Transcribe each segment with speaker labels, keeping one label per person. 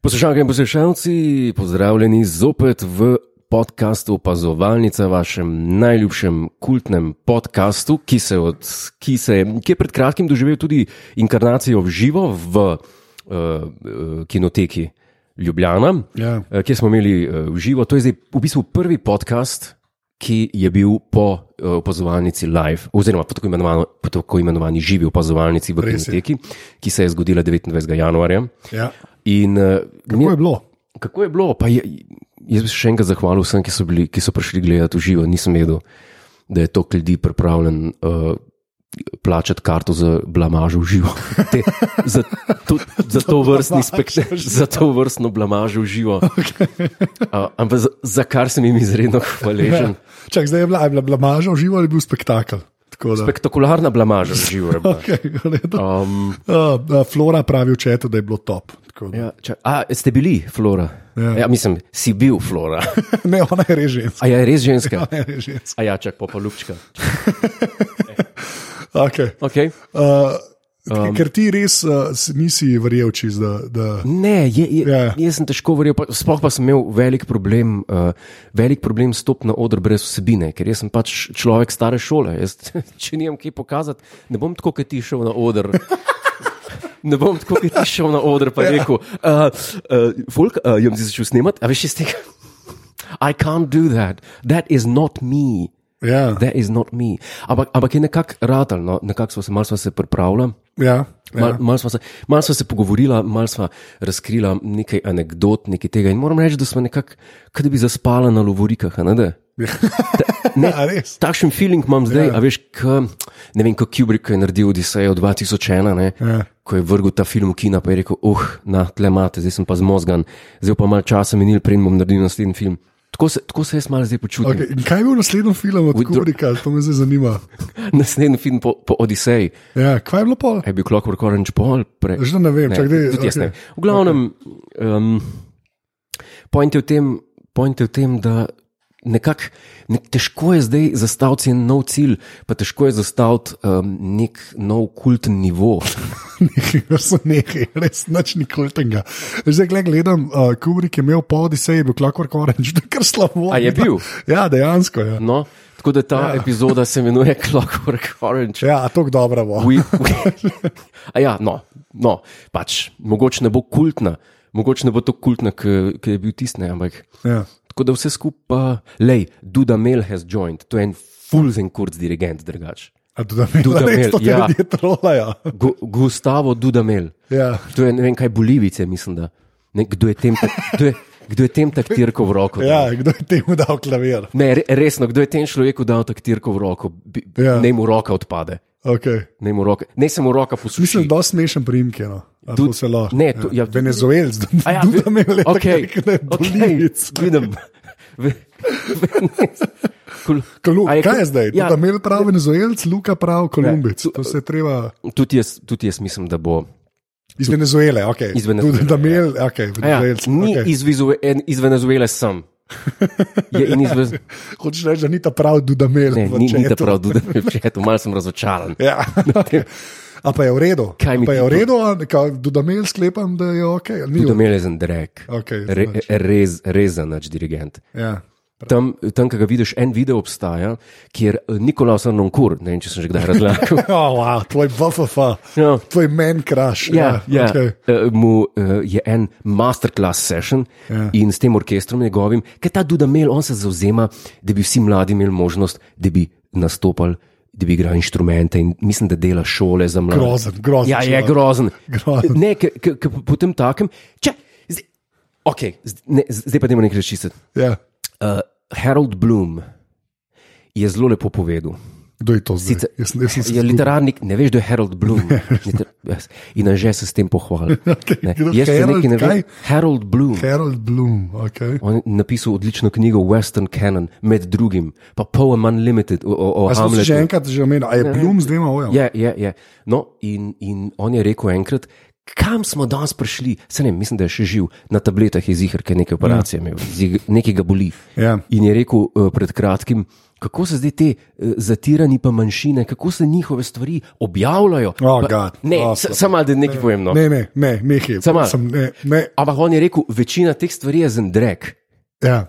Speaker 1: Poslušalke in poslušalci, pozdravljeni zopet v podkastu Opazovalnica, vašem najljubšem kultnem podkastu, ki, se od, ki, se, ki je pred kratkim doživel tudi inkarnacijo v živo v uh, uh, kinoteki Ljubljana,
Speaker 2: Ja.
Speaker 1: eh, kjer smo imeli eh, v živo. To je zdaj v bistvu prvi podcast. Ki je bil po eh, opazovalnici live, oziroma po tako, imenovano- po tako imenovani živi opazovalnici v
Speaker 2: Res je.
Speaker 1: Kinoteki, ki se je zgodila 29. januarja.
Speaker 2: Ja.
Speaker 1: In, eh, mi
Speaker 2: Kako je bilo?
Speaker 1: Kako je bilo? Pa Je, jaz bi se še enkrat zahvalil vsem, ki so, bili, ki so prišli gledati v živo. Nisem vedel, da je toliko ljudi pripravljen uh, plačati karto za blamažo v živo. Te, za, to, za, to vrstni spekta- za to vrstno blamažo v živo. Okay. Uh, ampak za, za kar sem jim izredno hvaležen.
Speaker 2: Čak, Ja. zdaj je bila, je bila blamaža v živo ali je bil spektakel? Tako da-
Speaker 1: Spektakularna blamaža v živo. rabota.
Speaker 2: Okay, v redu.
Speaker 1: Um,
Speaker 2: Uh, uh, Flora pravi v četu, da je bilo top. Tako da-
Speaker 1: ja, če, a, ste bili, Flora? Ja. ja, mislim, si bil, Flora.
Speaker 2: Ne, ona je res ženska.
Speaker 1: A ja, je res ženska?
Speaker 2: Ona je res ženska.
Speaker 1: A ja, čak, pa pa lupčka.
Speaker 2: Okay.
Speaker 1: Okay.
Speaker 2: Uh, um. Ker ti res uh, s- nisi verjel, čist, da, da
Speaker 1: Ne, je, je,
Speaker 2: Ja.
Speaker 1: yeah. jaz sem težko verjel, pa- sploh pa sem imel velik problem, uh, velik problem stop na oder brez vsebine, ker jaz sem pač človek stare šole. Jaz, če nimam kaj pokazati, ne bom tako, kot ti šel na oder. Ne bom tako, kot ti šel na oder, pa rekel, uh, uh, Folk, uh, jaz sem začel snemati, a veš iz tega. I can't do that. That is not me.
Speaker 2: ja,
Speaker 1: That is not me. Ampak, ampak je nekako ratal, no? nekako smo se malo sva se pripravljali.
Speaker 2: ja,
Speaker 1: Mal,
Speaker 2: ja.
Speaker 1: mal sva se, mal sva se pogovorila, malo smo razkrila nekaj anegdot, nekaj tega. In moram reči, da smo nekako, kot da bi zaspala na lovorikah. a Ne, da?
Speaker 2: Ne, ja, res.
Speaker 1: Takšen feeling imam zdaj,
Speaker 2: Ja.
Speaker 1: yeah. a veš, k, ne vem, kako Kubrick je naredil Odisejo 2001, ne,
Speaker 2: Ja.
Speaker 1: ko je vrgel ta film v kina, pa je rekel, oh, na tle imate, zdaj sem pa zmozgan, zdaj bo pa malo časa minil, preden bom naredil naslednji film. Tako se, tako se jaz malo zdaj počutim.
Speaker 2: Okay. in Kaj je bil naslednji film od
Speaker 1: With dro-
Speaker 2: Kubrika, to me zdaj zanima.
Speaker 1: Naslednji film po, po Odiseji
Speaker 2: Ja, kaj je bilo pol?
Speaker 1: je bil Clockwork Orange Paul, prej.
Speaker 2: Že ne vem,
Speaker 1: Ne,
Speaker 2: čak, dej,
Speaker 1: tudi jaz ne.
Speaker 2: okay.
Speaker 1: V glavnem, okay. um, point, je v tem, point je v tem, da nekako nek, težko je zdaj zastaviti en nov cilj, pa težko je zastaviti um, nek nov kulten nivo.
Speaker 2: Nekaj, so nekaj, res nič nikoltenga. Zdaj gled- gledam, uh, Kubrick je imel po Odiseji, je bil Clockwork Orange, da je kar slabo.
Speaker 1: A je bil?
Speaker 2: Ja, dejansko je. Ja.
Speaker 1: No? Tako da ta ja. epizoda se imenuje Clockwork Orange.
Speaker 2: Ja, a tako dobro bo.
Speaker 1: We, we, a ja, no, no, pač mogoče ne bo kultna, mogoče ne bo tako kultna, kot je bil tisti, ne, ampak.
Speaker 2: Ja.
Speaker 1: Tako da vse skupaj, lej, Duda Mel has joined, to je en fulzen kurc dirigent, drugač.
Speaker 2: A Duda Mel,
Speaker 1: Duda Mel,
Speaker 2: res, to te
Speaker 1: ja.
Speaker 2: ljudje trolajo.
Speaker 1: Gu, Gustavo Duda Mel,
Speaker 2: Ja.
Speaker 1: to je ne vem kaj Bolivice, mislim, da. Ne, kdo, je tem, tak- kdo, je, kdo je tem taktirko v roko? dal?
Speaker 2: ja, kdo je temu dal klavir?
Speaker 1: Ne, re, resno, kdo je tem človeku dal taktirko v roko? Bi, ja.
Speaker 2: Ja.
Speaker 1: Ne mu roka odpade,
Speaker 2: Okay.
Speaker 1: ne mu roka, ne se mu roka
Speaker 2: Mislim,
Speaker 1: posuši.
Speaker 2: da je smešen priimke. No. A
Speaker 1: Dud-
Speaker 2: to se lahko-
Speaker 1: ne, to- ja,
Speaker 2: Venezuelc, da ja, Duda Mel, je
Speaker 1: okay,
Speaker 2: tak, ne,
Speaker 1: okay,
Speaker 2: bolivic.
Speaker 1: vidim. Ve- Venice. Kol-
Speaker 2: Kolu-
Speaker 1: A je
Speaker 2: Kaj
Speaker 1: kol-
Speaker 2: je zdaj? Ja.
Speaker 1: Ja,
Speaker 2: Duda Mel pravi Venezuelc, Luka pravi Kolumbic.
Speaker 1: tu-
Speaker 2: to se je treba
Speaker 1: tudi, jaz, tudi jaz mislim, da bo.
Speaker 2: iz Venezuele. Okay.
Speaker 1: Iz Venezuele,
Speaker 2: Duda Mel, okay,
Speaker 1: A Ja,
Speaker 2: Venezuelc.
Speaker 1: ni
Speaker 2: okay.
Speaker 1: okay. iz, Vizue, en, iz Venezuele sem. Je, in iz, Vez-
Speaker 2: Hočeš reči, da ni ta pravi Duda Mel.
Speaker 1: ne,
Speaker 2: v
Speaker 1: ni, ni ta
Speaker 2: chatu.
Speaker 1: prav, da bi rekel, malo sem razočaran.
Speaker 2: Ja. A pa je v redu,
Speaker 1: Kaj mi
Speaker 2: A pa je
Speaker 1: ti
Speaker 2: v redu, da mel sklepam, da je ok. Ni
Speaker 1: Tudi
Speaker 2: v-
Speaker 1: imel je zen drek,
Speaker 2: Okej,
Speaker 1: Re, e,
Speaker 2: zanač.
Speaker 1: rez, rezan nač dirigent.
Speaker 2: Ja.
Speaker 1: Tam, tam ki ga vidiš, en video obstaja, kjer eh, Nikolaus Arnonkur, ne vem, če sem že kdaj razlagal,
Speaker 2: Oh, wow, tvoj BFF,
Speaker 1: Ja.
Speaker 2: tvoj men crash.
Speaker 1: ja, ja,
Speaker 2: okej.
Speaker 1: eh, mu eh, je en masterclass session
Speaker 2: Ja.
Speaker 1: in s tem orkestrom njegovim, ker ta Duda Mel, on se zauzema, da bi vsi mladi imeli možnost, da bi nastopali, da bi igrali inštrumente in mislim, da dela šole za mlade.
Speaker 2: Grozen, grozen
Speaker 1: Ja, je
Speaker 2: človek.
Speaker 1: grozen.
Speaker 2: Grozen.
Speaker 1: Ne, ker ker- ker po tem takem, če, zdaj, okay, zdaj, ne, zdaj pa dajmo nekaj čistiti.
Speaker 2: Ja.
Speaker 1: Uh, Harold Bloom je zelo lepo povedal.
Speaker 2: Kdo je to zdaj?
Speaker 1: Sicer-
Speaker 2: jaz, jaz sem se
Speaker 1: Je Ja, literarnik, ne veš, da je Harold Bloom. Liter, jaz- in že se s tem pohvali.
Speaker 2: Okej,
Speaker 1: Ne,
Speaker 2: kdo-
Speaker 1: Jaz se
Speaker 2: Harold
Speaker 1: nekaj ne vem.
Speaker 2: kaj?
Speaker 1: Harold Bloom.
Speaker 2: Harold Bloom. Okay.
Speaker 1: On je napisal odlično knjigo Western Canon, med drugim, pa Poem Unlimited o, o, o
Speaker 2: A smo si
Speaker 1: Hamletu.
Speaker 2: že ja. Oh.
Speaker 1: Ja.
Speaker 2: enkrat že omenili, a je Bloom z dvema ojem.
Speaker 1: Je, je, je. No, in, in on je rekel enkrat, Kam smo danes prišli? Se ne, mislim, da je še živ, na tabletah je zihar, ker nekaj operacije imel, zig- nekaj ga boli.
Speaker 2: Ja.
Speaker 1: In je rekel eh, pred kratkim, kako se zdaj te eh, zatirani pa manjšine, kako se njihove stvari objavljajo.
Speaker 2: Oh,
Speaker 1: Pa-
Speaker 2: God.
Speaker 1: ne,
Speaker 2: Oh,
Speaker 1: sa- samo da nekaj povem. No.
Speaker 2: Ne, ne, ne, nehaj.
Speaker 1: Samo malo.
Speaker 2: Sem, ne, ne,
Speaker 1: Ampak on je rekel, večina teh stvari je zendrek.
Speaker 2: ja.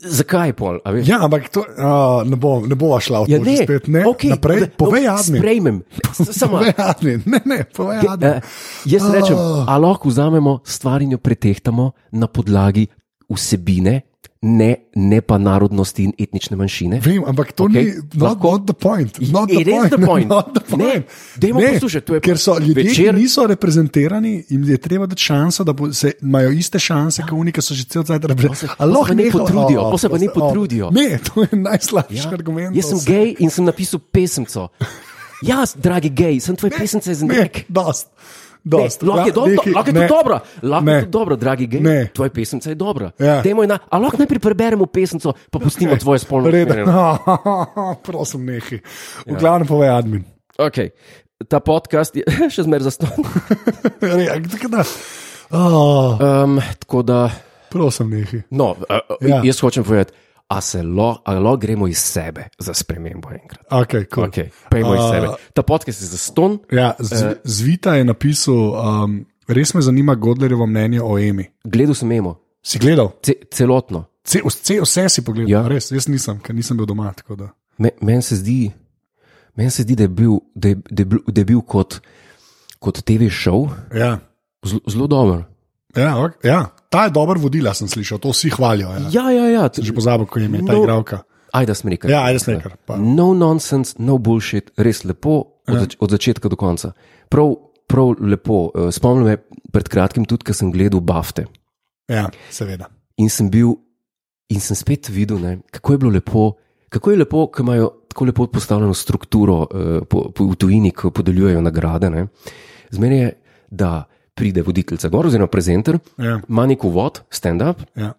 Speaker 1: Zakaj pol? a veš?
Speaker 2: ja, ampak to, uh, ne bo, ne bo šla v to
Speaker 1: Ja,
Speaker 2: že spet. Ne,
Speaker 1: okej,
Speaker 2: naprej,
Speaker 1: da-
Speaker 2: povej
Speaker 1: no,
Speaker 2: admin.
Speaker 1: Sprejmem, S- samo.
Speaker 2: Povej admin. Ne, ne, povej admin.
Speaker 1: Eh, jaz
Speaker 2: Ah.
Speaker 1: rečem, a lahko vzamemo stvar in jo pretehtamo na podlagi vsebine, ne, ne pa narodnosti in etnične manjšine.
Speaker 2: Vem, ampak to
Speaker 1: Okej,
Speaker 2: okay. ni not, not the point. Not
Speaker 1: It
Speaker 2: the
Speaker 1: is
Speaker 2: point.
Speaker 1: the point.
Speaker 2: Not the point.
Speaker 1: Ne, dajmo poslušati, to je
Speaker 2: ker so ljudje, večer...
Speaker 1: večer-
Speaker 2: ki niso reprezentirani, jim je treba dati šanso, da bo, se, imajo iste šanse, kot oni, ki so že cel cel cel
Speaker 1: se-
Speaker 2: cel.
Speaker 1: pa se pa ne potrudijo, pa se pa ne potrudijo.
Speaker 2: Ne, to je najslabši ja. argument.
Speaker 1: jaz sem gej in sem napisal pesemco. Jaz, dragi gej, sem tvoj pesemce
Speaker 2: Ne,
Speaker 1: zendrek.
Speaker 2: dost.
Speaker 1: Ne,
Speaker 2: Dost.
Speaker 1: Lahko je,
Speaker 2: La-
Speaker 1: do,
Speaker 2: nehaj,
Speaker 1: lahko je
Speaker 2: ne.
Speaker 1: to dobro, lahko je
Speaker 2: Ne.
Speaker 1: to dobro, dragi gej.
Speaker 2: Ne.
Speaker 1: Tvoja pesemca je dobra.
Speaker 2: Ja.
Speaker 1: Dajmo jo Na, a lahko najprej preberemo pesemco, pa pustimo tvoje spolno
Speaker 2: Reda.
Speaker 1: usmerjeno? Ja.
Speaker 2: Prosim, nehaj. V glavnem povej admin.
Speaker 1: Okay. Ta podcast je še zmeraj zasnovan.
Speaker 2: Ja, tako da, oh,
Speaker 1: Um, tako da,
Speaker 2: prosim, nehaj.
Speaker 1: no, a, a,
Speaker 2: Ja.
Speaker 1: ja. jaz hočem povedati, a se lahko lo gremo iz sebe za spremembo enkrat.
Speaker 2: Okay, cool.
Speaker 1: Okay, Pejmo iz
Speaker 2: A,
Speaker 1: sebe. Ta podcast je za ston.
Speaker 2: Ja, z,
Speaker 1: Eh.
Speaker 2: zvita je napisal, um, res me zanima Godlerjevo mnenje o Emi.
Speaker 1: Gledal sem emo,
Speaker 2: Si gledal?
Speaker 1: ce, celotno.
Speaker 2: Ce, vse, vse si pogledal, ja.
Speaker 1: Ja.
Speaker 2: res, jaz nisem, ker nisem bil doma. tako da.
Speaker 1: Me- Meni se zdi, men se zdi da, je bil, da, je, da, je bil, da je bil kot, kot TV-šov
Speaker 2: Ja.
Speaker 1: zelo dober.
Speaker 2: Ja, ok, ja. Ta je dober vodila, sem slišal, to vsi hvalijo. Ja.
Speaker 1: Ja, ja, ja.
Speaker 2: Že pozabil, ko je imel ta
Speaker 1: No.
Speaker 2: igralka.
Speaker 1: Ajda smrekar.
Speaker 2: Ja, jaz nekaj.
Speaker 1: No nonsense, no bullshit, res lepo,
Speaker 2: Ja.
Speaker 1: od, zač od začetka do konca. Prav, prav lepo. Eh, Spomnim me pred kratkim tudi, ko sem gledal Bafte
Speaker 2: Ja, seveda.
Speaker 1: in sem bil, in sem spet videl, ne, kako je bilo lepo, kako je lepo, ko imajo tako lepo postavljeno strukturo eh, po, po, v tujini, ko podeljujejo nagrade. Ne. Zmeraj je, da pride voditeljica gor, oziroma prezenter,
Speaker 2: Ja,
Speaker 1: ima nek uvod, stand-up,
Speaker 2: ja.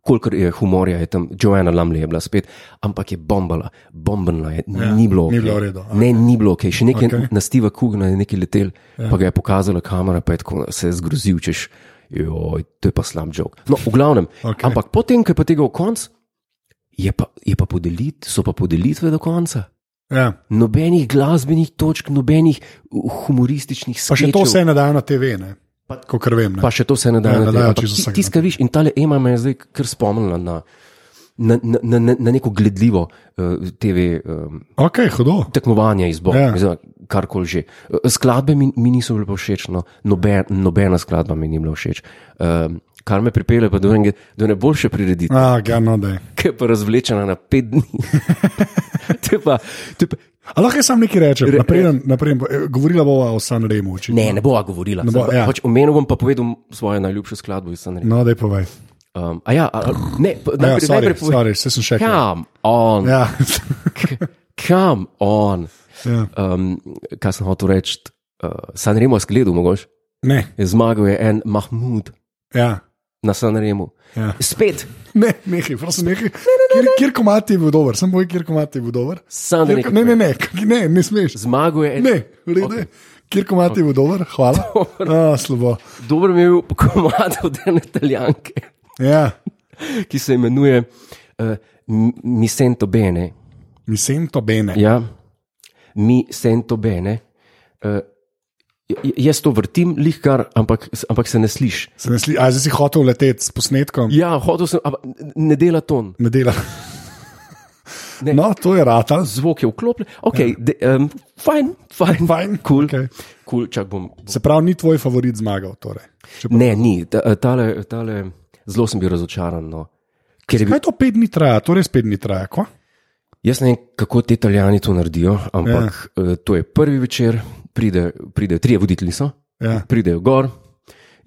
Speaker 1: kolikor je humorja, je tam Joanna Lamley je bila spet, ampak je bombala, bombala je, ja, ni bilo.
Speaker 2: ni
Speaker 1: okej.
Speaker 2: bilo v redu,
Speaker 1: Ne, ni bilo, okay. še nekaj
Speaker 2: Okej.
Speaker 1: okay. na Steva Kugna je nekaj letel, ja. pa ga je pokazala kamera, pa je tako se je zgrozil, češ, joj, to je pa slab žog. No, v glavnem.
Speaker 2: Okej.
Speaker 1: Okay. Ampak potem, ker je pa tega v konc, je pa, je pa podelit, so pa podelitve do konca.
Speaker 2: ja.
Speaker 1: Nobenih glasbenih točk, nobenih uh, humorističnih
Speaker 2: Pa še
Speaker 1: stvari.
Speaker 2: to vse ne dajo na TV, ne?
Speaker 1: Pa-
Speaker 2: Ko kar vem. Ne?
Speaker 1: Pa še to se ne da.
Speaker 2: Ja, Ne, ne
Speaker 1: na te-
Speaker 2: dajo
Speaker 1: ampak
Speaker 2: čisto no.
Speaker 1: ti-
Speaker 2: vsega
Speaker 1: Tiska viš in tale ema me je zdaj kar spomnila na, na, na, na, na- na neko gledljivo uh, TV um,
Speaker 2: Ok, hudo.
Speaker 1: tekmovanje izbor,
Speaker 2: Ja.
Speaker 1: ja. kar koli že. Eh, Skladbe mi, mi niso bile pa všeč, no, noben, nobena skladba mi ni bila všeč. Um, kar me pripelje pa do, enega, do ne boljše prireditve
Speaker 2: Ah, ja, no, da je.
Speaker 1: ki je pa razvlečena na pet dni. To je pa, to je pa,
Speaker 2: A lahko jaz sam nekaj rečem,
Speaker 1: Re-
Speaker 2: napreden, napreden, bo- eh, govorila bova o San Remu. očitno.
Speaker 1: ne, ne bova govorila.
Speaker 2: Ne bo,
Speaker 1: Zdaj pa-
Speaker 2: ja.
Speaker 1: pač omenil bom pa povedal svojo najljubšo skladbo iz Sanremo.
Speaker 2: No, da je povej.
Speaker 1: Um, a ja, a, ne, pa-
Speaker 2: Ja,
Speaker 1: najprej,
Speaker 2: sorry,
Speaker 1: najprej povej.
Speaker 2: sorry, se sem še kaj.
Speaker 1: Come on,
Speaker 2: Ja.
Speaker 1: come on.
Speaker 2: ja.
Speaker 1: Um, kaj sem hotel reči? Uh, San Remo je zgledal, mogoče.
Speaker 2: Ne,
Speaker 1: Zmagal je en Mahmud
Speaker 2: ja.
Speaker 1: na San Remu.
Speaker 2: Ja.
Speaker 1: Spet,
Speaker 2: Ne, nehaj, prosim, nehaj. Kjer, kjer komat je bil dober, sem boj, kjer komat je bil dober.
Speaker 1: San
Speaker 2: Kjer,
Speaker 1: Remo.
Speaker 2: Ja, ne, ne, ne, k- ne, ne smeš.
Speaker 1: Zmagal je en.
Speaker 2: Ne, okay. kjer komat je bil dober, hvala. A, slabo.
Speaker 1: Dobro mi je bil komad od ene italijanke,
Speaker 2: Ja,
Speaker 1: ki se imenuje uh, M- Mi sento bene.
Speaker 2: mislim to bene.
Speaker 1: Ja, mi sento bene. Uh, jaz to vrtim, lihkar, ampak, ampak se ne sliši.
Speaker 2: Se ne sli, a zdaj si hotel leteti s posnetkom,
Speaker 1: Ja, hodil sem, ampak ne dela ton.
Speaker 2: ne dela.
Speaker 1: Ne.
Speaker 2: No, to je rata.
Speaker 1: zvok je vklopljen, ok, ja. um, fajn, fajn,
Speaker 2: Fajn,
Speaker 1: kul,
Speaker 2: okej.
Speaker 1: okay. cool, čak bom.
Speaker 2: Se pravi, ni tvoj favorit zmagal. Torej. Če-
Speaker 1: Ne, ni, ta- eh, tale, tale, zelo sem bil razočaran. No. Ker je bil,
Speaker 2: Kaj to pet dni traja, to res pet dni traja, ko?
Speaker 1: jaz ne vem, kako ti italijani to naredijo, ampak ja. to je prvi večer, pride, pride trije voditelji, so,
Speaker 2: Ja.
Speaker 1: pridejo gor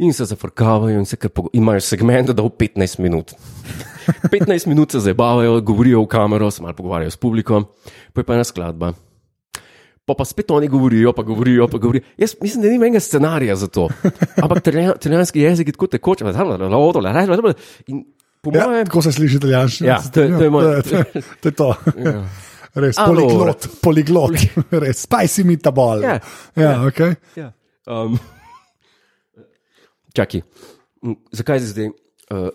Speaker 1: in se zafrkavajo in se kar pogo- imajo segment, da v 15 minut. 15 minut se zabavajo, govorijo v kamero, se malo pogovarjajo s publikom, pa je pa ena skladba. Pa, pa spet oni govorijo, pa govorijo, pa govorijo. Jaz mislim, da ni enega scenarija za to. Ampak italijanski jezik je tako tekoč, da je in po
Speaker 2: Ja,
Speaker 1: mojem.
Speaker 2: tako se sliši italijanski.
Speaker 1: Ja, to je- to je moj- Ja.
Speaker 2: To je, to je to. Res,
Speaker 1: Allora.
Speaker 2: poliglot, poliglot, res, spicy mi ta bol.
Speaker 1: Ja.
Speaker 2: ja, ok.
Speaker 1: Ja. Um, čakaj, m, zakaj zdaj? Uh,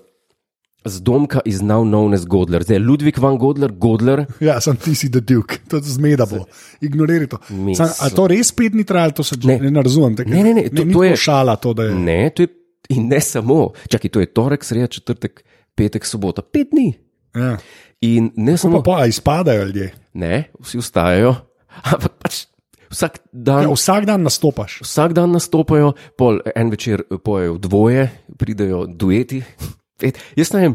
Speaker 1: Zdomka iz navnovne zgodler, zdaj Ludvik van Godler, Godler,
Speaker 2: Ja, sem ti si the Duke, to zmeda bo. Ignoriraj to.
Speaker 1: Mi
Speaker 2: Sam, a to res pet ni trajalo, to se ne, ne razumem. tako-
Speaker 1: Ne, ne, ne, to-
Speaker 2: ni
Speaker 1: to je- Mm.
Speaker 2: tako šala. To, da je,
Speaker 1: Ne, to je, in ne samo, čakaj, to je torek, sreda, četrtek, petek, sobota, pet dni.
Speaker 2: ja.
Speaker 1: In ne
Speaker 2: Pa
Speaker 1: samo,
Speaker 2: pa a izpadajo ljudje.
Speaker 1: ne, vsi ostajajo, ampak pač vsak dan.
Speaker 2: Ja, vsak dan nastopaš.
Speaker 1: Vsak dan nastopajo, pol en večer e, pojejo dvoje, pridejo dueti. Et, jaz ne vem,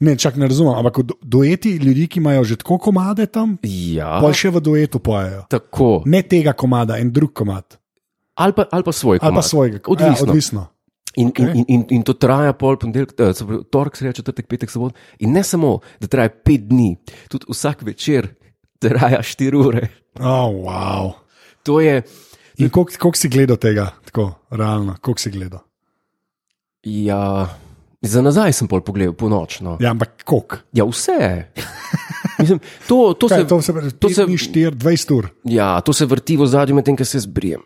Speaker 2: Ne, čak ne razumem, ampak v du- dueti ljudi, ki imajo že tako komade tam,
Speaker 1: ja,
Speaker 2: pa še v duetu pojejo.
Speaker 1: tako.
Speaker 2: Ne tega komada, en drug komad.
Speaker 1: Ali pa, ali pa svoj.
Speaker 2: Ali pa
Speaker 1: komad.
Speaker 2: svojega.
Speaker 1: Odvisno.
Speaker 2: Ja, odvisno.
Speaker 1: In, okay.
Speaker 2: Ok.
Speaker 1: in, in, in to traja pol ponedeljek, eh, se pravi, torek, sreda, četrtek, petek, sobot. In ne samo, da traja pet dni, tudi vsak večer traja štiri ure.
Speaker 2: Oh, wow.
Speaker 1: To je,
Speaker 2: In koliko kolik si gledal tega, tako realno, koliko si gledal?
Speaker 1: ja, za nazaj sem pol pogledal, ponočno.
Speaker 2: Ja, ampak koliko?
Speaker 1: Ja, vse. Mislim, to, to,
Speaker 2: Kaj,
Speaker 1: se,
Speaker 2: to se pravi,
Speaker 1: to
Speaker 2: to
Speaker 1: se-
Speaker 2: se mi 4, 20 ur.
Speaker 1: ja, to se vrti v zadju, medtem ko se jaz brijem.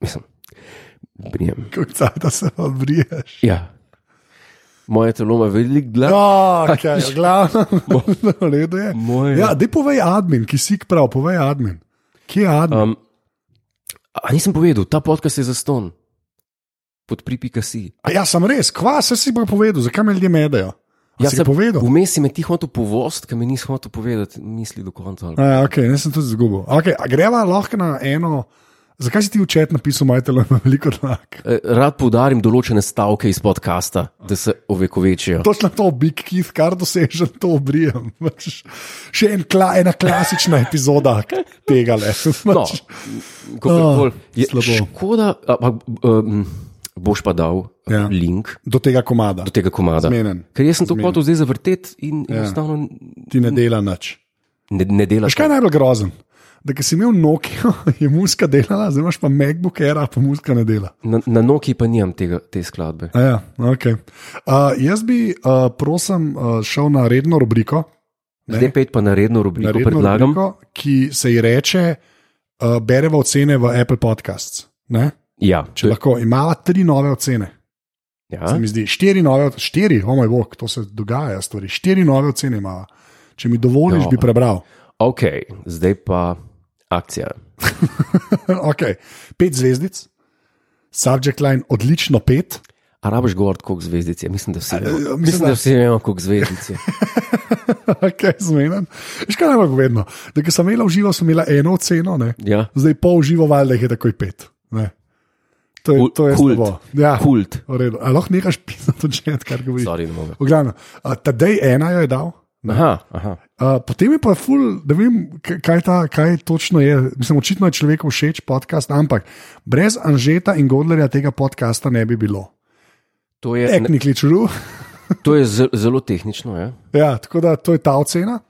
Speaker 1: Mislim, brijem.
Speaker 2: Kako cajta se odbriješ?
Speaker 1: Ja. Moje telo ima velik glav.
Speaker 2: Ja, kaj, glavno, v redu je.
Speaker 1: Moje.
Speaker 2: Ja, dej povej admin, ki si prav, povej admin. Kje je admin?
Speaker 1: Um, a nisem povedal, ta podcast je zaston. Podpripika si.
Speaker 2: A ja, sem res, kva, se si pa povedal, zakaj me ljudje medejo? Ja, si ga povedal.
Speaker 1: Vmes si me ti hotel povost, ker mi nisi hotel povedati misli do konca. ali-
Speaker 2: A, ok, ne sem tudi izgubil. Okay, a greva lahko na eno. Zakaj si ti včeraj napisal, moj telo ima veliko znak?
Speaker 1: Eh, Rad poudarim določene stavke iz podcasta, da se ovekovečijo.
Speaker 2: Točno to, Big Keith, kar dosežem, to obrijem. Pač, Še en kla, ena klasična epizoda tega le.
Speaker 1: No,
Speaker 2: Pač,
Speaker 1: kakorkoli.
Speaker 2: Ah,
Speaker 1: Je
Speaker 2: slabo.
Speaker 1: Škoda, ampak um, boš pa dal ja.
Speaker 2: Ja.
Speaker 1: link
Speaker 2: Do tega komada.
Speaker 1: do tega komada.
Speaker 2: Zmenen.
Speaker 1: Ker jaz sem to hotel zdaj zavrteti in ja. enostavno
Speaker 2: Ti ne dela nič.
Speaker 1: ne, ne delaš.
Speaker 2: Veš kaj je najbolj grozen? Da ker si imel Nokio, je muska delala, zdaj imaš pa MacBook Air, pa muska ne dela.
Speaker 1: Na, na Noki pa nimam tega, te skladbe.
Speaker 2: A Ja, okay. uh, jaz bi, uh, prosim, uh, šel na redno rubriko,
Speaker 1: Zdaj pet pa na redno
Speaker 2: na
Speaker 1: rubriko
Speaker 2: redno
Speaker 1: predlagam. Rubriko?
Speaker 2: rubriko, ki se ji reče: uh, bereva ocene v Apple Podcasts. Ne?
Speaker 1: Ja, to
Speaker 2: Če
Speaker 1: je-
Speaker 2: lahko imamo tri nove ocene, se
Speaker 1: ja.
Speaker 2: mi zdi, štiri nove, oc- štiri, o oh moj bog, to se dogaja, stvari. Štiri nove ocene imamo. Če mi dovoliš,
Speaker 1: Dobro.
Speaker 2: bi prebral.
Speaker 1: Ok, zdaj pa akcija.
Speaker 2: okay. Pet zvezdic, subject line odlično pet.
Speaker 1: A rabiš govoriti, koliko zvezdic je? Mislim, da vsi vemo,
Speaker 2: mislim,
Speaker 1: Mislim, da
Speaker 2: da-
Speaker 1: vsi vemo koliko zvezdic je.
Speaker 2: Okay, Zmeden. Še kaj najbolj povedno. Da, ker sem imela v živo, sem imela eno oceno, ne?
Speaker 1: Ja.
Speaker 2: zdaj pa v živo, valjda jih je takoj pet. Ne? To je, to je
Speaker 1: Kult.
Speaker 2: slabo. Ja,
Speaker 1: Kult.
Speaker 2: v redu. A lahko nehaš pisati, če ne kar govoriš.
Speaker 1: Sorry, ne morem.
Speaker 2: Oglavno, tedej ena jo je dal.
Speaker 1: Aha, aha.
Speaker 2: Uh, potem je pa ful, da vem, k- kaj, ta, kaj točno je. Mislim, očitno je človeku všeč podcast, ampak brez Anžeta in Godlerja tega podcasta ne bi bilo.
Speaker 1: To je, ne,
Speaker 2: Technically true.
Speaker 1: to je z- zelo tehnično. Ja?
Speaker 2: Ja, tako da to je ta ocena.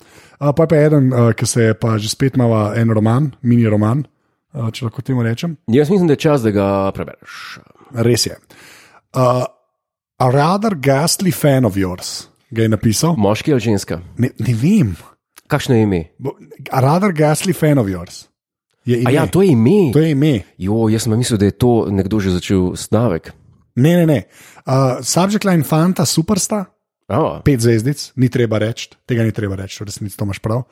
Speaker 2: Uh, pa je pa en, uh, ki se je pa že spet imel en roman, mini roman, uh, če lahko temu rečem.
Speaker 1: Jaz mislim, da je čas, da ga prebereš.
Speaker 2: Res je. Uh, a rather ghastly fan of yours, ga je napisal.
Speaker 1: Moški ali ženska?
Speaker 2: Ne, ne vem,
Speaker 1: Kakšno je ime?
Speaker 2: Bo- a rather ghastly fan of yours. Je
Speaker 1: A
Speaker 2: ime.
Speaker 1: ja, to je ime.
Speaker 2: to je ime.
Speaker 1: Jo, jaz sem mislil, da je to nekdo že začel stavek.
Speaker 2: Ne, ne, ne. Uh, subject line fanta, supersta,
Speaker 1: Oh,
Speaker 2: pet zvezdic, ni treba reči, tega ni treba reči, v resnici to imaš prav.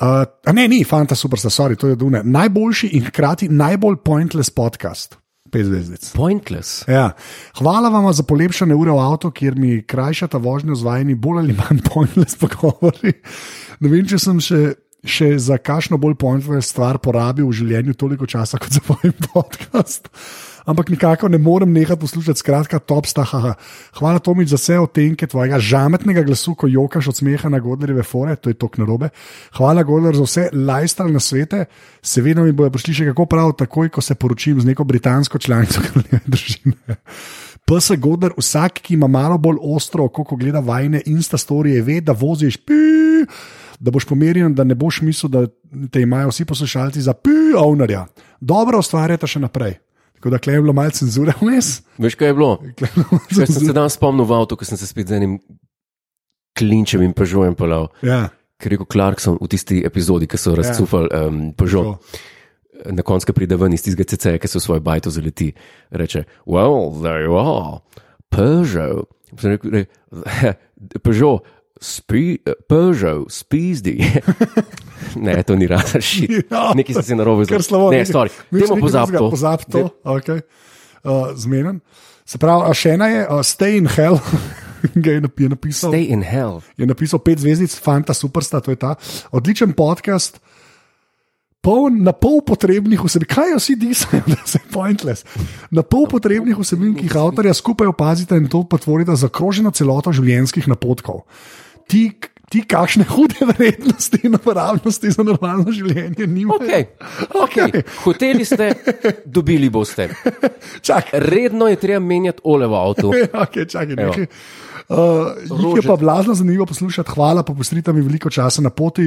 Speaker 2: Uh, a ne, ni, fanta, super, sorry, to je Dune. Najboljši in hkrati najbolj pointless podcast, pet zvezdic.
Speaker 1: pointless.
Speaker 2: Ja. Hvala vam za polepšane ure v avtu, kjer mi krajšata vožnjo z vajeni bolj ali manj pointless pogovori. Ne vem, če sem še, še za kakšno bolj pointless stvar porabil v življenju toliko časa kot za vajen podcast. Ampak nikako ne morem nehati poslušati, skratka, top staha. Hvala Tomič za vse odtenke tvojega žametnega glasu, ko jokaš od smeha na Godlerjeve fore, to je tok narobe. Hvala Godler za vse lifestyle na svete, seveda mi bojo prišli še kako prav, takoj ko se poročim z neko britansko članico kraljeve družine. PS Godler, vsak, ki ima malo bolj ostro, oko, ko gleda vajne insta storije, ve, da voziš pi, da boš pomirjen, da ne boš mislil, da te imajo vsi poslušalci za pi, ovnarja. Dobro ustvarjate še naprej. Tako da klej je bilo malo cenzure vmes.
Speaker 1: Veš, kaj je bilo?
Speaker 2: Tule je bilo malo
Speaker 1: Kaj sem se
Speaker 2: cenzure.
Speaker 1: danes spomnil v avtu, ko sem se spet z enim klinčem in pežojem pelal.
Speaker 2: Ja,
Speaker 1: Ker je rekel Clarkson v tisti epizodi, ki so razcufali um, Peugeot.
Speaker 2: tako.
Speaker 1: na koncu ko pride ven iz tistega CC, ki se v svoj bajto zaleti. Reče, well, there you are, Peugeot. Sem rekel, "Ne, Peugeot, spi, Peugeot, spizdi. ne, to ni rada šit.
Speaker 2: Ja.
Speaker 1: Nekaj sem se narobe
Speaker 2: Ker slabo.
Speaker 1: zgodil. Ne, sorry,
Speaker 2: Nič
Speaker 1: temu
Speaker 2: ni
Speaker 1: pozabi
Speaker 2: drugega,
Speaker 1: to.
Speaker 2: Pozabi to, okay. uh, zmeden. Se pravi, a še ena je, uh, Stay in Hell, ga je, nap je napisal.
Speaker 1: Stay in hell.
Speaker 2: Je napisal pet zvezdic, fanta, supersta, to je ta. Odličen podcast. Poln, na pol potrebnih vsebin, kaj jo vsi disajo, da se pointless. Na pol potrebnih vsebin, ki jih avtorja skupaj opazite in to potvorite za kroženo celoto življenjskih napotkov. Ti, ti kakšne hude vrednosti in uporabnosti za normalno življenje nimajo.
Speaker 1: Okay. Okay. Hoteli ste, dobili boste.
Speaker 2: Čakaj,
Speaker 1: Redno je treba menjati ole v avtu.
Speaker 2: okay, čakaj, nekaj. Uh, jih je pa blazno zanimivo poslušati, hvala, pa postrite mi veliko časa na poti.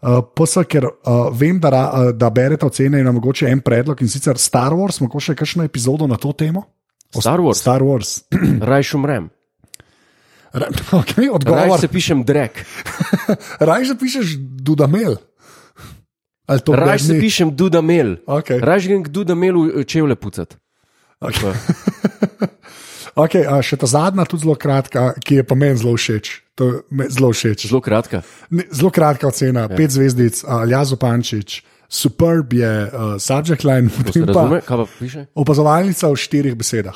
Speaker 2: Uh, Posel, ker uh, vem, da, ra, uh, da berete ocene in nam mogoče en predlog in sicer Star Wars, mogoče kakšno epizodo na to temo?
Speaker 1: Star Wars,
Speaker 2: Star Wars.
Speaker 1: rajš umrem.
Speaker 2: Ra- okay,
Speaker 1: Rajš
Speaker 2: odgovor.
Speaker 1: se pišem drek,
Speaker 2: Raj že pišeš Dudamel. Ali to
Speaker 1: rajš se
Speaker 2: Dudamel?
Speaker 1: pišem dudamel.
Speaker 2: Okay.
Speaker 1: Rajš grem k dudamelu čevlje pucati.
Speaker 2: Okay. okay, a še ta zadnja, tudi zelo kratka, ki je pa meni zelo všeč. To je me- Zelo všeč.
Speaker 1: Zelo kratka.
Speaker 2: Ne, Zelo kratka ocena, ja. pet zvezdic, Aljazo Pančič, superb je uh, subject line, potem pa
Speaker 1: Razume, kaj pa piše?
Speaker 2: opazovalnica v štirih besedah.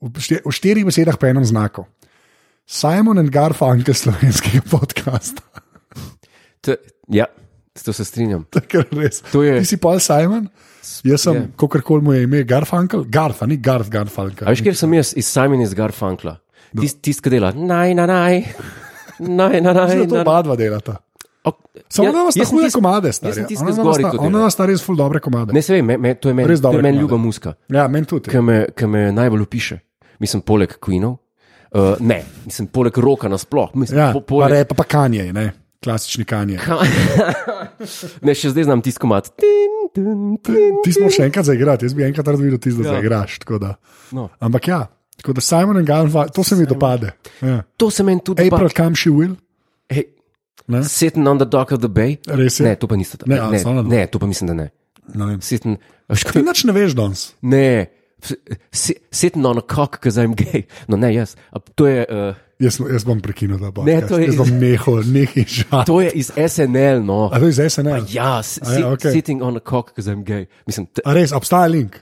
Speaker 2: V šti- v štirih besedah pa enem znaku. Simon and Garfunkel slovenskega podcasta.
Speaker 1: T ja, s to se strinjam.
Speaker 2: To je kar res.
Speaker 1: To je- Ja.
Speaker 2: Ti si Paul Simon, jaz sem,
Speaker 1: je.
Speaker 2: yeah. kako koli mu je ime, Garfunkel, Garfa, ni Garf Garfunkel.
Speaker 1: A veš, kjer sem jaz iz Simon iz Garfunkla? Tisti, tis, ki dela. Naj, na naj. Naj, na naj.
Speaker 2: Mislim, da to
Speaker 1: na-
Speaker 2: oba dva delata.
Speaker 1: Ok,
Speaker 2: Samo
Speaker 1: ja,
Speaker 2: da vas
Speaker 1: jaz sem
Speaker 2: tako hude
Speaker 1: tisti-
Speaker 2: komade,
Speaker 1: Jaz
Speaker 2: stari. ja.
Speaker 1: sem tisti, ki
Speaker 2: Ona ima vas
Speaker 1: zgori
Speaker 2: ta-
Speaker 1: to
Speaker 2: Ona
Speaker 1: dela.
Speaker 2: vas sta res ful dobre komade.
Speaker 1: ja. Ne, se ve, me, me, to je meni
Speaker 2: Res
Speaker 1: to
Speaker 2: dobre
Speaker 1: je meni
Speaker 2: komade.
Speaker 1: ljuba muska.
Speaker 2: Ja, meni tudi.
Speaker 1: ki me, ki me najbolj opiše. Mislim, poleg Queenov, uh, ne, mislim, poleg roka nasploh. Mislim,
Speaker 2: Ja,
Speaker 1: po,
Speaker 2: pa,
Speaker 1: poleg...
Speaker 2: re, pa, pa kanje, ne? klasični kanje.
Speaker 1: Ne, še zdaj znam tisti komat. Tin, tin, tin.
Speaker 2: Ti smo še enkrat zaigrati, jaz bi enkrat rad videl, tisto, da ja. zaigraš. tako Da.
Speaker 1: No.
Speaker 2: Ampak ja, tako da Simon in Garfunkel, to se mi dopade. Ja.
Speaker 1: To se meni tudi
Speaker 2: April,
Speaker 1: dogaja.
Speaker 2: kam she will,
Speaker 1: Hey,
Speaker 2: Ne?
Speaker 1: sitting on the dock of the bay.
Speaker 2: res je.
Speaker 1: Ne, to pa niste tam.
Speaker 2: Ne, a, samo
Speaker 1: ne,
Speaker 2: na dok.
Speaker 1: ne, to pa mislim, da ne.
Speaker 2: Ne.
Speaker 1: Sitting, a ško-
Speaker 2: Ti nič ne veš danes.
Speaker 1: ne, s- si- sitting on a cock, because I'm gay. No, ne, jaz. A To je, uh,
Speaker 2: Jaz, jaz bom prekinil ta boj.
Speaker 1: Ne, to je
Speaker 2: Jaz
Speaker 1: iz-
Speaker 2: bom nehal, nehaj žal.
Speaker 1: to je iz SNL, no.
Speaker 2: A to je zdaj se ne.
Speaker 1: Ja, s-
Speaker 2: A ja,
Speaker 1: sit,
Speaker 2: okej.
Speaker 1: sitting on a cock, because I'm gay. Mislim, t-
Speaker 2: A res, obstaja link.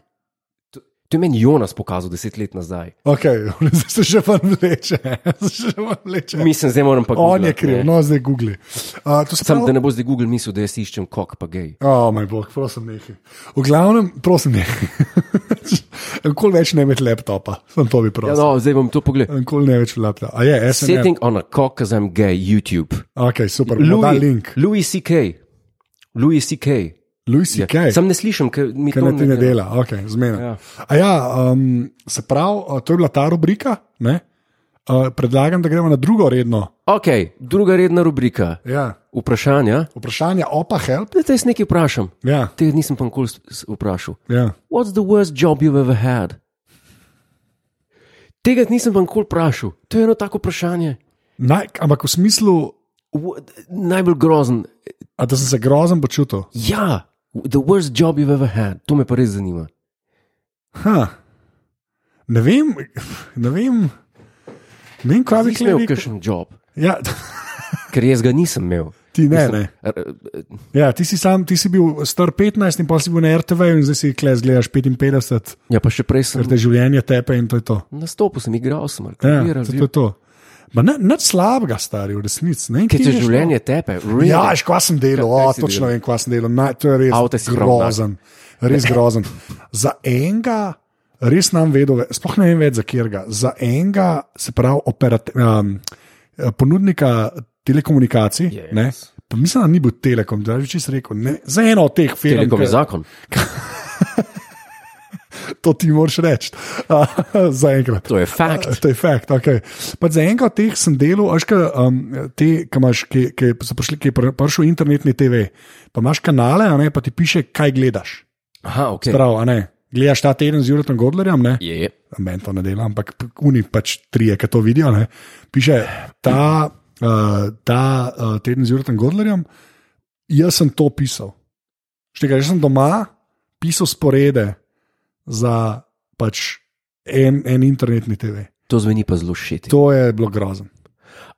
Speaker 1: To je meni Jonas pokazal deset let nazaj.
Speaker 2: Okay, zdaj se še vam vleče. zdaj se še vam vleče.
Speaker 1: Mislim, zdaj moram pa
Speaker 2: On je
Speaker 1: googlat,
Speaker 2: kriv,
Speaker 1: ne.
Speaker 2: no zdaj googli. Uh, to se
Speaker 1: Sam,
Speaker 2: pravi-
Speaker 1: da ne bo zdaj Google mislil, da jaz iščem kok, pa gej.
Speaker 2: O, oh, moj bog, prosim, nekaj. V glavnem, prosim, nekaj. Nikoli več ne imeti laptopa, sem to
Speaker 1: Ja,
Speaker 2: bi prosil.
Speaker 1: no, zdaj bom to pogledal.
Speaker 2: Nikoli ne več laptopa. A je, SNL.
Speaker 1: Sitting on a cock, because I'm gay, YouTube.
Speaker 2: Ok, super, bomo dali link.
Speaker 1: Louis C.K. Louis C.K.
Speaker 2: Louis C.K.
Speaker 1: Sam ne slišim, ker mi
Speaker 2: Ker
Speaker 1: Ja. to
Speaker 2: ne ti ne dela, ok, zmena. Ja. A ja, um, se pravi, uh, to je bila ta rubrika, ne? Uh, predlagam, da gremo na drugo redno.
Speaker 1: Ok, druga redna rubrika.
Speaker 2: Ja.
Speaker 1: Vprašanja.
Speaker 2: Vprašanje, opa, help.
Speaker 1: Zdaj te jaz nekaj vprašam.
Speaker 2: Ja,
Speaker 1: Te nisem pa nikoli s- s- vprašal.
Speaker 2: ja.
Speaker 1: What's the worst job you've ever had? Tega nisem pa nikoli vprašal. To je eno tako vprašanje.
Speaker 2: Naj, ampak v smislu,
Speaker 1: Wha- Najbolj grozen.
Speaker 2: a, da sem se grozen počutil.
Speaker 1: Ja, the worst job you've ever had. To me pa res zanima.
Speaker 2: Ha. Ne vem, ne vem, ne vem, kaj bi
Speaker 1: Ti si imel
Speaker 2: rekel.
Speaker 1: kakšen job,
Speaker 2: Ja,
Speaker 1: ker jaz ga nisem imel.
Speaker 2: ti ne,
Speaker 1: Mislim,
Speaker 2: ne.
Speaker 1: r- r-
Speaker 2: Ja, ti si sam, ti si bil star 15 in pa si bil na RTV in zdaj si kles gledaš 55,
Speaker 1: Ja, pa še prej sem
Speaker 2: ker te življenje tepe in to je to.
Speaker 1: nastopil, sem igral, sem
Speaker 2: Ja,
Speaker 1: arkiviral.
Speaker 2: saj to je to. Ma ne, nič slabega, stari, v resnici. ne vem,
Speaker 1: Ker
Speaker 2: kje
Speaker 1: te
Speaker 2: je šlo.
Speaker 1: življenje tepe, really.
Speaker 2: Ja, veš, kva sem delal,
Speaker 1: Kaj- kaj
Speaker 2: o,
Speaker 1: si
Speaker 2: točno vem, kva sem delal. Na, to je res
Speaker 1: Avte si prav
Speaker 2: grozen, res grozen. Za enega, res nam vedo, sploh ne vem več za katerega, za enega, se pravi, operate, um, ponudnika telekomunikacij.
Speaker 1: Yes.
Speaker 2: ne, Pa mislim, da ni bil Telekom, da je čisto rekel. Ne, za eno od teh firm,
Speaker 1: Telekom je
Speaker 2: ki-
Speaker 1: zakon.
Speaker 2: to ti moraš reči. Uh, za enkrat.
Speaker 1: To je fakt.
Speaker 2: To je fakt. Okay. Pač za enega od teh sem delal, ajka, um, te, ki imaš, ki, ki so prišli, ki je pri- prišel internetni TV, pa imaš kanale, a ne, pa ti piše, kaj gledaš.
Speaker 1: Aha, ok.
Speaker 2: Prav, a ne. Gledaš ta teden z Jurjem Godlerjem, ne?
Speaker 1: Je, je.
Speaker 2: Meni to ne dela, ampak oni pač trije, ki to vidijo. Ne? Piše ta, uh, ta uh, teden z Jurjem Godlerjem, jaz sem to pisal. Štega, že sem doma, pisal sporede za pač en, en internetni TV.
Speaker 1: To zveni pa zelo šit.
Speaker 2: To je bilo grozno.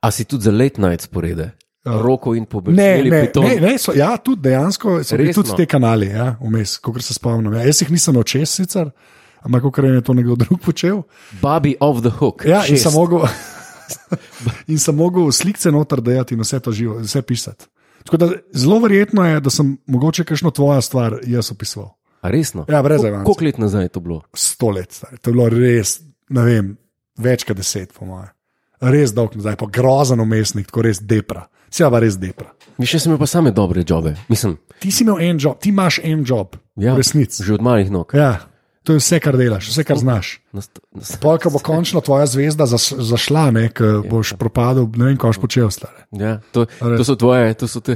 Speaker 1: A si tudi za late night sporede?
Speaker 2: Ja.
Speaker 1: Roko in pobegli.
Speaker 2: Ne, ne, ne, ne so, ja, tudi dejansko so bili
Speaker 1: Resno?
Speaker 2: tudi te kanale, ja, vmes, kako se spomnim. Ja, jaz jih nisem očes sicer, ampak kako je to nekdo drug počel.
Speaker 1: Bobby off the hook.
Speaker 2: Ja, in
Speaker 1: Šest.
Speaker 2: sem mogel, in sem mogel slikce noter dajati in vse to živo, vse pisati. Tako da zelo verjetno je, da sem mogoče kakšno tvojo stvar jaz opisoval.
Speaker 1: A Resno.
Speaker 2: Ja, brez
Speaker 1: Kol-
Speaker 2: evans.
Speaker 1: Koliko let nazaj je to bilo?
Speaker 2: Sto let, stari. to je bilo res, ne vem, več kot deset, po mojem. Res dolg nazaj, pa grozen umestnik, tako res depra. Sja pa res depra.
Speaker 1: Mi še smo pa same dobre jobe. Mislim,
Speaker 2: Ti si imel en job, ti imaš en job,
Speaker 1: ja,
Speaker 2: v resnici.
Speaker 1: Že od malih nog.
Speaker 2: Ja, to je vse, kar delaš, vse, kar znaš.
Speaker 1: Nast- nast-
Speaker 2: Polka bo končno tvoja zvezda zas- zašla, ne, ko boš propadel, ne vem, kaj boš počel, stare.
Speaker 1: Ja, to,
Speaker 2: Res.
Speaker 1: to so tvoje, to so te.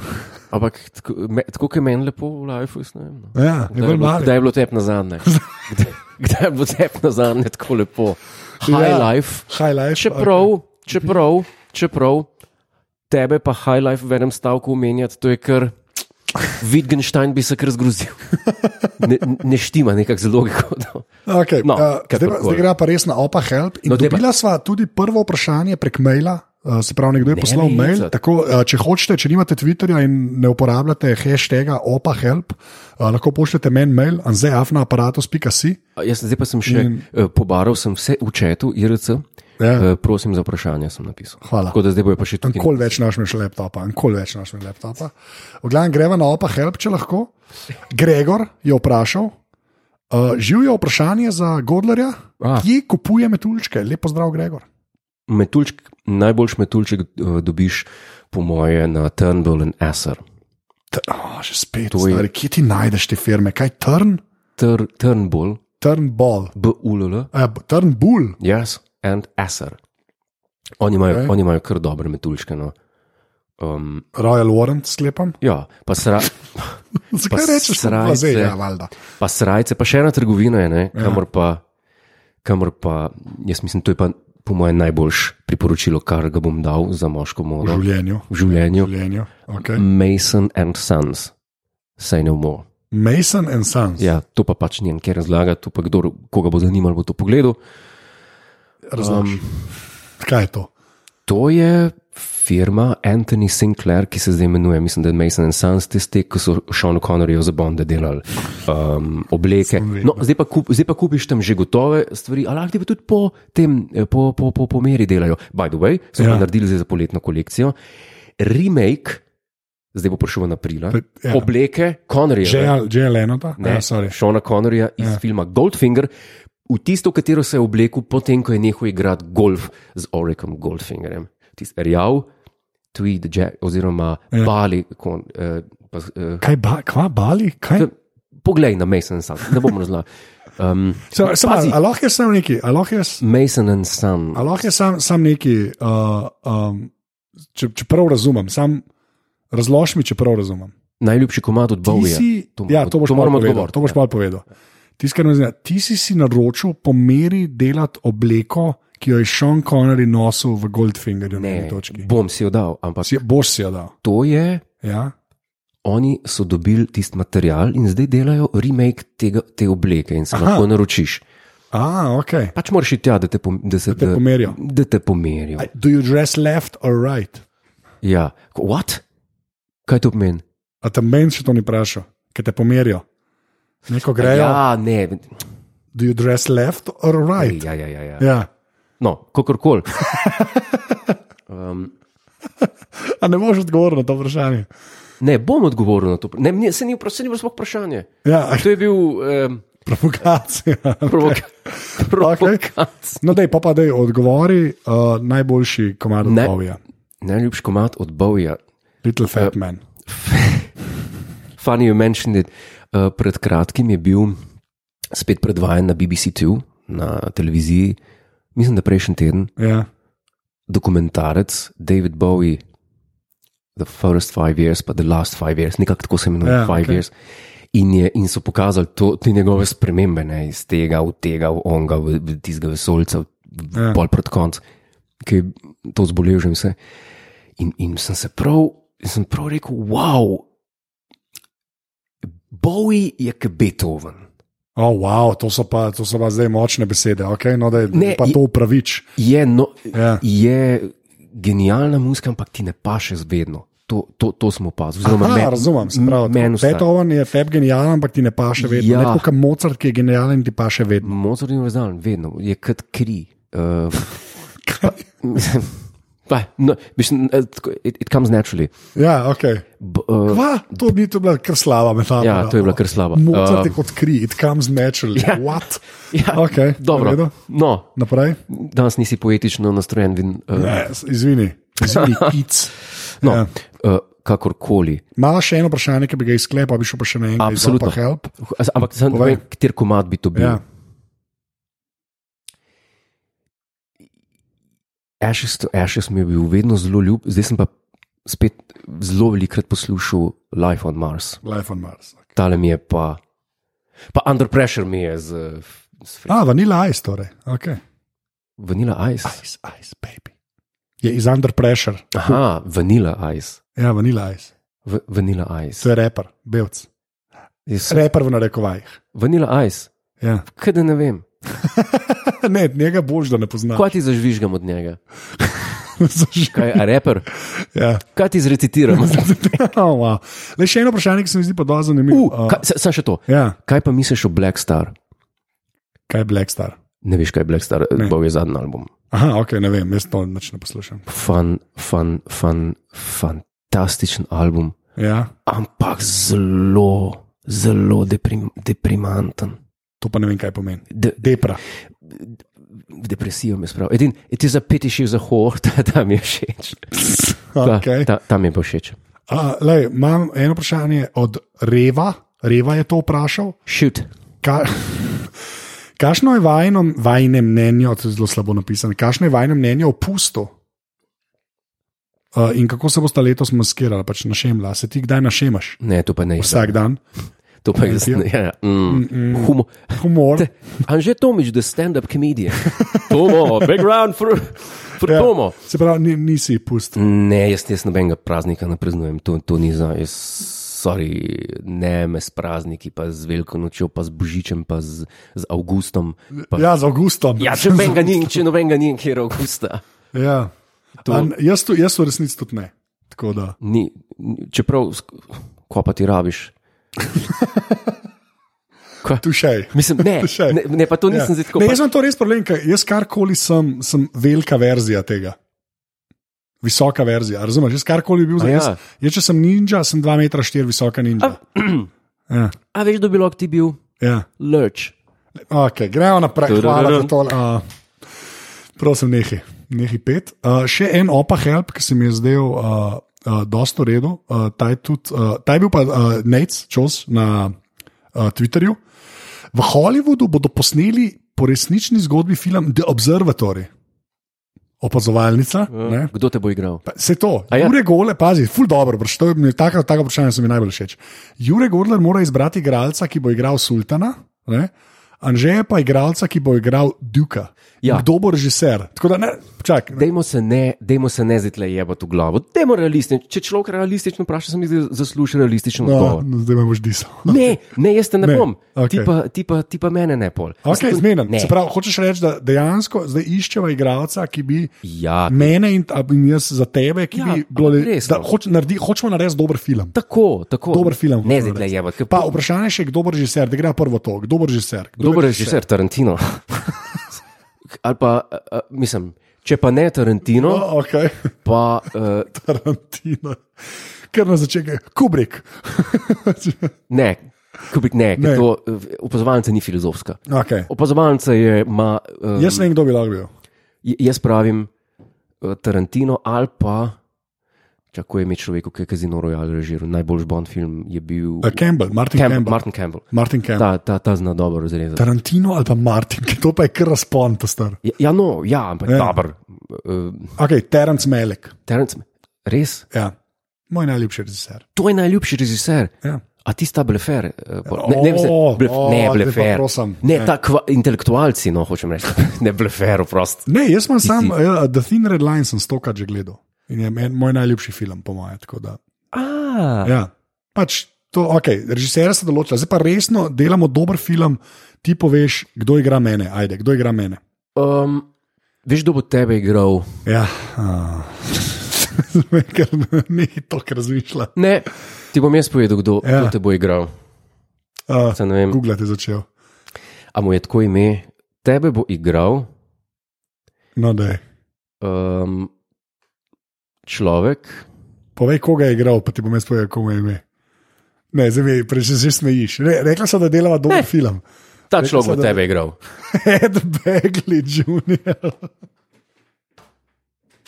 Speaker 1: Ampak tako me- tako, kot je meni lepo v lifeu, jaz ne vem. no.
Speaker 2: Ja, je
Speaker 1: Kdaj je
Speaker 2: bolj
Speaker 1: bilo-
Speaker 2: mali.
Speaker 1: kdaj je bilo tep na zadnje? Kdaj- Kdaj je bilo tep na zadnje tako lepo? High
Speaker 2: Ja.
Speaker 1: life.
Speaker 2: High life.
Speaker 1: Čeprav, čeprav, čeprav tebe pa high life v enem stavku omenjati, to je kar. Wittgenstein bi se kar zgrozil. Ne, ne štima nekako zelo logiko. No.
Speaker 2: Okay,
Speaker 1: No,
Speaker 2: no, uh, zdaj, pa-
Speaker 1: kakorkoli.
Speaker 2: zdaj gre pa res na opa help. In
Speaker 1: No, daj pa-
Speaker 2: dobila sva tudi prvo vprašanje prek maila. Uh, se pravi, nekdo je poslal
Speaker 1: me
Speaker 2: mail.
Speaker 1: hecat.
Speaker 2: Tako, uh, če hočete, če nimate Twitterja in ne uporabljate hashtaga opa help, uh, lahko pošljete meni mail, anzeafnaaparatus.si.
Speaker 1: A Jaz zdaj pa sem še
Speaker 2: In-
Speaker 1: In... pobaral, sem vse v četu, IRC.
Speaker 2: Ja.
Speaker 1: Eh, Prosim za vprašanje, sem napisal.
Speaker 2: Hvala.
Speaker 1: Tako da zdaj bojo pa še tukaj.
Speaker 2: Nikoli več ne boš imel še laptopa, nikoli več ne boš imel laptopa. V glavnem greva na opa help, če lahko. Gregor je vprašal, uh, živijo vprašanje za Godlerja,
Speaker 1: Ah.
Speaker 2: kje kupuje metuljčke. Lepo zdrav, Gregor.
Speaker 1: Metulčk, najboljši metulček eh, dobiš, po moje, na Turnbull in Esser.
Speaker 2: T- Oh, še spet,
Speaker 1: To je-
Speaker 2: stari, kje ti najdeš te firme, kaj trn,
Speaker 1: Tur, Turnbull,
Speaker 2: Turnbull,
Speaker 1: B-U-L-L,
Speaker 2: uh, Turnbull.
Speaker 1: yes, and Esser. Oni imajo,
Speaker 2: Ok.
Speaker 1: okay. oni imajo kar dobre metulčke. No. Um,
Speaker 2: Royal Warrant, sklepam.
Speaker 1: ja, pa, sra,
Speaker 2: Zakaj
Speaker 1: Pa
Speaker 2: rečeš, da je
Speaker 1: srajce.
Speaker 2: zdaj, ja, valjda.
Speaker 1: pa srajce, pa še ena trgovina je, ne, kamor, pa, kamor pa, jaz mislim, to je pa po mojem najboljš priporočilo, kar ga bom dal za moško
Speaker 2: V
Speaker 1: modo
Speaker 2: življenju.
Speaker 1: v življenju.
Speaker 2: V življenju. Okay.
Speaker 1: Mason and Sons, say no more.
Speaker 2: Mason and Sons.
Speaker 1: Ja, to pa pač ni nekaj razlaga, to pa kdo, koga bo zanimalo, bo to pogledal.
Speaker 2: Razumem. Kaj je to?
Speaker 1: To je firma Anthony Sinclair, ki se zdaj imenuje, mislim, da je Mason and Sons, tiste, ki so Sean Conneryju za Bonda delali um, obleke.
Speaker 2: Sem vedel.
Speaker 1: No, zdaj, pa kup, zdaj pa kupiš tam že gotove stvari, ali lahko ti pa tudi po, tem, eh, po, po, po, po meri delajo. By the way, so
Speaker 2: Ja.
Speaker 1: ja. naredili zdaj za poletno kolekcijo. Remake, zdaj bo prišel v aprila,
Speaker 2: Ja.
Speaker 1: ja. obleke Conneryja.
Speaker 2: Že ja, je eno,
Speaker 1: Ja. ne,
Speaker 2: ne, Ja, sorry.
Speaker 1: Šona Connerja iz ja. filma Goldfinger, v tisto, v katero se je oblekel, potem ko je nehal igrati golf z Orikom Goldfingerjem. Tisti rjav, tweed, jack, oziroma ja. bali. Kon, eh, pa, eh,
Speaker 2: Kaj, ba, kva, bali? Kaj?
Speaker 1: poglej na Mason Sun, ne bom razlagal. Um,
Speaker 2: Sem, sem,
Speaker 1: pazi.
Speaker 2: a lahko jaz sam neki, a lahko jaz,
Speaker 1: Mason and Sun.
Speaker 2: a lahko jaz sam, sam neki, uh, um, če, če prav razumem, sam razlož mi, če prav razumem.
Speaker 1: Najljubši komad od
Speaker 2: Ti
Speaker 1: Bowija.
Speaker 2: si,
Speaker 1: To
Speaker 2: to,
Speaker 1: moram-
Speaker 2: ja, to boš
Speaker 1: to moram
Speaker 2: malo povedal.
Speaker 1: odgovoriti,
Speaker 2: To boš
Speaker 1: ja.
Speaker 2: malo povedal. Tiskar me zanima, ti si si naročil po meri delati obleko, ki jo je Sean Connery nosil v Goldfingerju na eni
Speaker 1: Ne,
Speaker 2: točki.
Speaker 1: bom si jo dal, ampak
Speaker 2: Si, boš si jo dal.
Speaker 1: to je.
Speaker 2: Ja?
Speaker 1: Oni so dobili tisti material in zdaj delajo remake tega, te obleke, in se
Speaker 2: Aha.
Speaker 1: Aha. lahko naročiš.
Speaker 2: A, ok.
Speaker 1: Pač moraš iti tja, da te, pom, da se,
Speaker 2: te pomerijo.
Speaker 1: Da te pomerijo.
Speaker 2: I- Do you dress left or right?
Speaker 1: Ja, what? Kaj to pomeni?
Speaker 2: A tam meni še to ni vprašal, ker te pomerijo. Neko grejo, ja.
Speaker 1: Ja, ne.
Speaker 2: do you dress left or right?
Speaker 1: Ja, ja, ja. ja.
Speaker 2: Ja.
Speaker 1: No, kakorkoli.
Speaker 2: A ne moreš odgovoriti na to vprašanje.
Speaker 1: Ne bom odgovoril na to. Ne, ne, se ni vpra- se ni bilo sploh vprašanje.
Speaker 2: Ja,
Speaker 1: To je bil um,
Speaker 2: provokacija.
Speaker 1: provoka provokac.
Speaker 2: No, dej, pa pa dej odgovori, uh, najboljši komad od
Speaker 1: Ne.
Speaker 2: Bovija.
Speaker 1: Najljubši komat od Bowija. Ja.
Speaker 2: Little Fat Man.
Speaker 1: Funny you mentioned it. Uh, pred kratkim je bil spet predvajan na BBC2, na televiziji, mislim, da prejšnji teden.
Speaker 2: Ja.
Speaker 1: dokumentarec David Bowie, The First Five Years, pa The Last Five Years, nekako tako se imenuje,
Speaker 2: Ja,
Speaker 1: yeah, Five
Speaker 2: okej.
Speaker 1: okay. Years. In, je, in so pokazali to, te njegove spremembe, ne, iz tega v tega, v onega, v, v tistega vesolca,
Speaker 2: Ja.
Speaker 1: yeah. pol pred koncem, ki je to zbolel že in vse. In, in sem se prav, in sem prav rekel, wow, Bowie je kot Beethoven.
Speaker 2: Oh, wow, to so, pa, to so pa zdaj močne besede, okay? no, da je
Speaker 1: Ne,
Speaker 2: ne, pa
Speaker 1: je-
Speaker 2: to upravič.
Speaker 1: Je, no,
Speaker 2: Ja.
Speaker 1: ja. je genialna muzika, ampak ti ne paše zvedno. To, to, to smo opazili. oziroma
Speaker 2: Aha,
Speaker 1: men-
Speaker 2: razumem, se pravi,
Speaker 1: Meni
Speaker 2: tako,
Speaker 1: vsaj.
Speaker 2: Beethoven je feb genijalen, ampak ti ne paše vedno. Ja.
Speaker 1: Ja.
Speaker 2: Ne tako kot Mozart, ki je genijalen, ti paše vedno.
Speaker 1: Mozart je univerzalen, vedno je kot kri. Uh, pa, no, mislim, eh, tako, it, it comes naturally.
Speaker 2: Ja, okay.
Speaker 1: B, uh,
Speaker 2: Kva, to ni to bila kar slaba metafora. no.
Speaker 1: Ja, to je bila kar slaba.
Speaker 2: Mozart je
Speaker 1: Eh.
Speaker 2: kot kri, it comes naturally.
Speaker 1: Ja.
Speaker 2: Ja. What?
Speaker 1: ja,
Speaker 2: Okej, v redu.
Speaker 1: dobro. No,
Speaker 2: Naprej?
Speaker 1: danes nisi poetično nastrojen. Vin, uh,
Speaker 2: Ne, izvini, izvini, kic.
Speaker 1: no,
Speaker 2: ja.
Speaker 1: ja. uh, kakorkoli.
Speaker 2: Malo še eno vprašanje, ki bi ga izklepal, bi šel pa še na eno.
Speaker 1: Absolutno.
Speaker 2: Help.
Speaker 1: Ampak sem
Speaker 2: Povej.
Speaker 1: rekel, kater komad bi to bil.
Speaker 2: Ja.
Speaker 1: Ja. Ashes to Ashes mi je bil vedno zelo ljub, zdaj sem pa spet zelo velikrat poslušal Life on Mars.
Speaker 2: Life on Mars. Okay.
Speaker 1: Tale mi je pa, pa Under Pressure mi je z, z
Speaker 2: A, vanila ice, torej. Okay.
Speaker 1: Vanilla Ice.
Speaker 2: Ice, ice, baby. Je iz under pressure.
Speaker 1: Aha, Vanilla Ice.
Speaker 2: Ja, vanila ice.
Speaker 1: V, vanilla Ice.
Speaker 2: To je reper, belc.
Speaker 1: Jaz sem-
Speaker 2: Reper v narekovajih.
Speaker 1: Vanilla Ice,
Speaker 2: Ja.
Speaker 1: kaj da ne vem.
Speaker 2: ne, njega boš, da ne poznaš.
Speaker 1: Kaj ti zažvižgam od njega?
Speaker 2: Zažgal.
Speaker 1: Kaj je reper?
Speaker 2: ja.
Speaker 1: Kaj ti zrecitiram?
Speaker 2: oh, wow. Le še eno vprašanje, ki se mi zdi pa dovolj zanimivo.
Speaker 1: Uh, kaj- sa- Samo še to.
Speaker 2: ja,
Speaker 1: Kaj pa misliš o Black Star?
Speaker 2: kaj je Black Star?
Speaker 1: Ne veš, kaj je Black Star,
Speaker 2: Ne.
Speaker 1: bo je zadnji album.
Speaker 2: Aha, ok, ne vem, jaz to nič ne poslušam.
Speaker 1: Fan, fan, fan, fantastičen album,
Speaker 2: Ja,
Speaker 1: ampak zelo, zelo deprim, deprimanten.
Speaker 2: to pa ne vem, kaj pomeni.
Speaker 1: De,
Speaker 2: Depra.
Speaker 1: v depresijo me spravi. Edin, ti za peti še za hor, ta, tam je všeč. Ta,
Speaker 2: Okay.
Speaker 1: ta, tam je pa všeč.
Speaker 2: A, lej, imam eno vprašanje od Reva. Reva je to vprašal.
Speaker 1: Šut.
Speaker 2: Ka Kakšno je vajno, vajne mnenje, to je zelo slabo napisano, kakšno je vajno mnenje o pustu? Uh, in kako se boste letos maskirali, pač našemla, se ti kdaj našemaš?
Speaker 1: Ne, to pa ne.
Speaker 2: Vsak dan,
Speaker 1: To pa je zdaj. Ja, ja. mm. Humor.
Speaker 2: humor.
Speaker 1: Anže Tomič, the stand-up comedian. Tomo, background for, for
Speaker 2: Ja.
Speaker 1: yeah. Tomo.
Speaker 2: Se pravi, ni, nisi pust.
Speaker 1: Ne, jaz, jaz nobenega praznika ne praznujem, to, to ni za. Jaz, sorry, ne me s prazniki, pa z veliko nočjo, pa z božičem, pa z, z avgustom. Pa,
Speaker 2: Ja, z avgustom.
Speaker 1: ja, če nobenega ni, če nobenega ni, kjer je avgusta.
Speaker 2: Ja. An, jaz, tu, jaz v resnici tudi ne. Tako da.
Speaker 1: Ni, ni- čeprav, sk- ko pa ti rabiš. Kaj?
Speaker 2: Tušej.
Speaker 1: Mislim, ne,
Speaker 2: Še. Ja.
Speaker 1: ne, ne, pa to nisem zdaj tako.
Speaker 2: Ne,
Speaker 1: pa-
Speaker 2: jaz imam to res problem, ker jaz karkoli sem, sem velika verzija tega. Visoka verzija, razumete? Jaz karkoli bi bil za
Speaker 1: A ja.
Speaker 2: jaz. Jaz, če sem ninja, sem 2,4 m visoka ninja. Ja,
Speaker 1: A veš, da bi lahko ti bil
Speaker 2: ja.
Speaker 1: lurč.
Speaker 2: Okay, gremo naprej, hvala za
Speaker 1: Tudududum.
Speaker 2: to. Uh, prosim, nehi, nehi pet. Uh, še en opa help, ki se mi je zdel uh, uh, dosto redo. Uh, ta, je tudi, uh, ta je bil pa uh, Nates Čos na uh, Twitterju. V Hollywoodu bodo posneli po resnični zgodbi film The Observatory, opazovalnica. ne.
Speaker 1: Kdo te bo igral?
Speaker 2: Pa, Se to,
Speaker 1: A ja?
Speaker 2: Jure Gole, pazi, ful dobro, vpraš- to je mi- taka, taka vprašanja so mi najbolj všeč. Jure Gorler mora izbrati igralca, ki bo igral sultana, ne? Anže pa igralca, ki bo igral Duka.
Speaker 1: Ja.
Speaker 2: Kdo bo režiser? Tako da ne, čak, ne.
Speaker 1: Dajmo se ne, dajmo se ne zitle jebati v glavo. Dajmo realistično. Če človek realistično vpraša, se mi zdi, da zasluži realističen
Speaker 2: No,
Speaker 1: odgovor.
Speaker 2: no, zdaj me boš disal.
Speaker 1: Ne, ne, jaz te ne,
Speaker 2: Ne,
Speaker 1: ne bom.
Speaker 2: okej.
Speaker 1: Okay. Ti, pa, ti, pa, ti pa mene ne pol.
Speaker 2: Okay, zmenim.
Speaker 1: Ne.
Speaker 2: Se pravi, hočeš reči, da dejansko zdaj iščeva igralca, ki bi
Speaker 1: Ja,
Speaker 2: mene in, a- in jaz za tebe, ki
Speaker 1: Ja,
Speaker 2: bi bilo
Speaker 1: ampak no.
Speaker 2: le-
Speaker 1: resno.
Speaker 2: da hoč, naredi, hočemo narediti dober film.
Speaker 1: tako, tako.
Speaker 2: Dober film.
Speaker 1: Ne
Speaker 2: hočemo
Speaker 1: zitle
Speaker 2: narediti.
Speaker 1: jebati.
Speaker 2: Pa vprašanje je še, kdo bo režiser, da gre prvo to, kdo bo režiser. Kdo
Speaker 1: Dober režiser Tarantino. Ali pa, a, a, mislim, če pa ne Tarantino,
Speaker 2: Oh, okay.
Speaker 1: pa uh,
Speaker 2: Tarantino. Ker na začetku je Kubrik.
Speaker 1: ne, kubik ne,
Speaker 2: Ne.
Speaker 1: ne. To, eh, opazovalnica ni filozofska.
Speaker 2: okay.
Speaker 1: Opazovalnica je, ima. Uh,
Speaker 2: Jaz ne vem, kdo bi lahko bil.
Speaker 1: J- Jaz pravim eh, Tarantino ali pa. Čakaj, je mi človek, ki je Kazino Royale režiral. Najboljši Bond film je bil
Speaker 2: Uh, Campbell,
Speaker 1: Campbell,
Speaker 2: Martin Campbell. Campbell.
Speaker 1: Martin Campbell.
Speaker 2: Martin Campbell.
Speaker 1: Ta, ta, ta zna dobro zrezati.
Speaker 2: Tarantino ali pa Martin, ki to pa je kar razpon, ta star.
Speaker 1: Ja, Ja, no, ja, ampak
Speaker 2: Ja.
Speaker 1: ja. dober. Uh,
Speaker 2: Ok, Terence Melek,
Speaker 1: Terence, res,
Speaker 2: ja. moj najljubši režiser.
Speaker 1: to je najljubši režiser.
Speaker 2: Ja.
Speaker 1: A ti sta blefer, eh, pol. ne,
Speaker 2: O,
Speaker 1: ne, mislim, blef,
Speaker 2: o,
Speaker 1: ne
Speaker 2: zdaj pa
Speaker 1: blefer,
Speaker 2: prosim. Ja.
Speaker 1: ne,
Speaker 2: Ne.
Speaker 1: ta kva, intelektualci, no, hočem reči, ne blefer, oprost.
Speaker 2: Ne, jaz imam sam uh, The Thin Red Line, sem stokrat že gledal. In je en, moj najljubši film, po mojem. tako da,
Speaker 1: A,
Speaker 2: Ja. Pač to, okay, režiser se določa, zdaj pa resno delamo dober film, ti poveš, kdo igra mene, ajde, kdo igra mene.
Speaker 1: Um, veš, kdo bo tebe igral?
Speaker 2: Ja, uh, zdaj, ker ni to, kar razmišlja.
Speaker 1: Ne, ti bom jaz povedal, kdo, ja.
Speaker 2: Ja.
Speaker 1: kdo te bo igral.
Speaker 2: Uh,
Speaker 1: Saj ne vem.
Speaker 2: Google je začel.
Speaker 1: A mu je tako ime, tebe bo igral
Speaker 2: No, daj.
Speaker 1: um, človek.
Speaker 2: Povej, koga je igral, pa ti bom jaz povedal, komu je ime. Ne, zdaj mi preveč že smejiš. Re, rekla sem, da delava dober ne. film.
Speaker 1: Ta
Speaker 2: Rekel
Speaker 1: človek bo
Speaker 2: sem, da-
Speaker 1: tebe igral.
Speaker 2: Ed Begley Jr.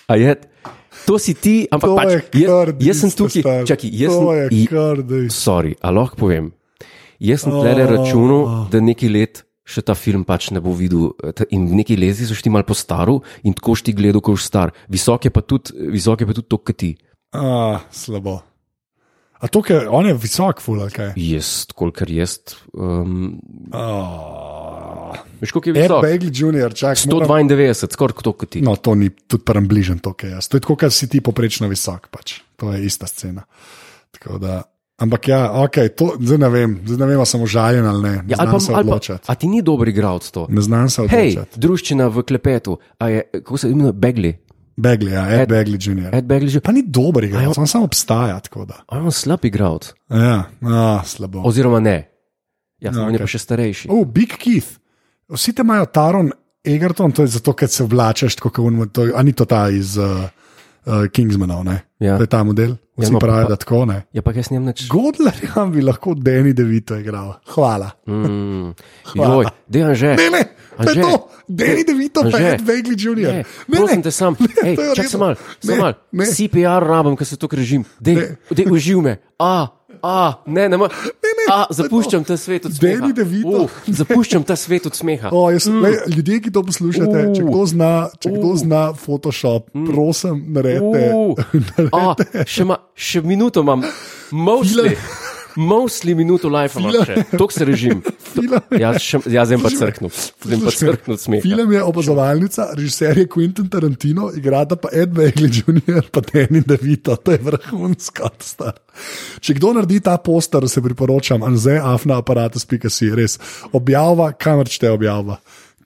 Speaker 1: A Je, to si ti, ampak
Speaker 2: To
Speaker 1: pač,
Speaker 2: je
Speaker 1: jaz,
Speaker 2: kar.
Speaker 1: jaz sem
Speaker 2: bistvo,
Speaker 1: tukaj.
Speaker 2: star.
Speaker 1: Čakaj, jaz
Speaker 2: to
Speaker 1: sem,
Speaker 2: je
Speaker 1: i-
Speaker 2: kar, da je.
Speaker 1: Sorry, a lahko povem. Jaz sem tle
Speaker 2: Ah.
Speaker 1: računal, da nekaj let še ta film pač ne bo videl. eh, ta- In neki lezi so šti mal po staru in tako šti gledal, ko si star. Visok je pa tudi, visok je pa tudi to, kot ti.
Speaker 2: Ah, slabo. A to, ker on je visok, ful, ali kaj.
Speaker 1: Jaz, kolikor jaz. Um,
Speaker 2: Ah.
Speaker 1: veš, koliko je
Speaker 2: Ed
Speaker 1: visok?
Speaker 2: Begley Jr., čakaj.
Speaker 1: 192, skoraj tako kot ti.
Speaker 2: No, to ni tudi prvem bližen to, kaj jaz. To je tako, kar si ti poprečno visok, pač. To je ista scena. Tako Da, ampak ja, ok, to zdaj ne vem, zdaj ne vem, ali sem užaljen ali ne. Ne
Speaker 1: Ja,
Speaker 2: ja, znam se odločiti.
Speaker 1: a ti ni dober igralec to?
Speaker 2: Ne znam se
Speaker 1: Hej,
Speaker 2: odločiti.
Speaker 1: druščina v klepetu, a je, kako se imenuje, Begli,
Speaker 2: Begli, ja, Ed, Ed Begli Jr.
Speaker 1: Ed Begli že.
Speaker 2: Pa ni dober igralec, on samo obstaja. tako da.
Speaker 1: A je on slab igralec,
Speaker 2: Ja, a, slabo. O,
Speaker 1: oziroma ne. Ja, no, on je
Speaker 2: okej.
Speaker 1: pa še starejši.
Speaker 2: oh, Big Keith. Vsi te imajo Taron Egerton, to je zato, ker se oblačeš, tako kot on, to, a ni to ta iz uh, uh, Kingsmanov, ne?
Speaker 1: Ja.
Speaker 2: To je ta model.
Speaker 1: Ja,
Speaker 2: Vsi
Speaker 1: no,
Speaker 2: ja,
Speaker 1: pa-
Speaker 2: pravijo, da tako ne.
Speaker 1: Ja, pa jaz njem neč.
Speaker 2: Godlerjam ja, bi lahko Deni Devito igral. Hvala.
Speaker 1: Mm. Joj, dejan že.
Speaker 2: Ne, ne, to
Speaker 1: Anže.
Speaker 2: je to. Deni Devito pa
Speaker 1: Anže.
Speaker 2: je Ed Begley Jr.
Speaker 1: Ne, prosim te sam, hej,
Speaker 2: to je v
Speaker 1: čak
Speaker 2: redu.
Speaker 1: se mal, se
Speaker 2: Ne,
Speaker 1: mal,
Speaker 2: ne.
Speaker 1: CPR rabim, ker se to krežim, dej, dej uživ me, a, a, ne, ne, ma- a, zapuščam ta svet od smeha.
Speaker 2: Danny DeVito.
Speaker 1: Uh, zapuščam ta svet od smeha.
Speaker 2: O, jaz, mm. le, ljudje, ki to poslušate, uh, če kdo zna, če kdo zna Photoshop, mm. prosim, naredite.
Speaker 1: Uh, a, še, ma, še minuto imam, mostly, mostly minuto life imam še, tok se režim.
Speaker 2: Film je,
Speaker 1: Jaz, še, jaz sem pa crknil, sem pa
Speaker 2: Poslušaj me.
Speaker 1: crknil od smeha.
Speaker 2: film je opazovalnica, režiser je Quentin Tarantino, igrata pa Ed Begley Jr., pa Danny DeVito, to je vrhunsko. star. Če kdo naredi ta poster, se priporočam, anze afna aparatus.si, res. Objava, kamer čte objava.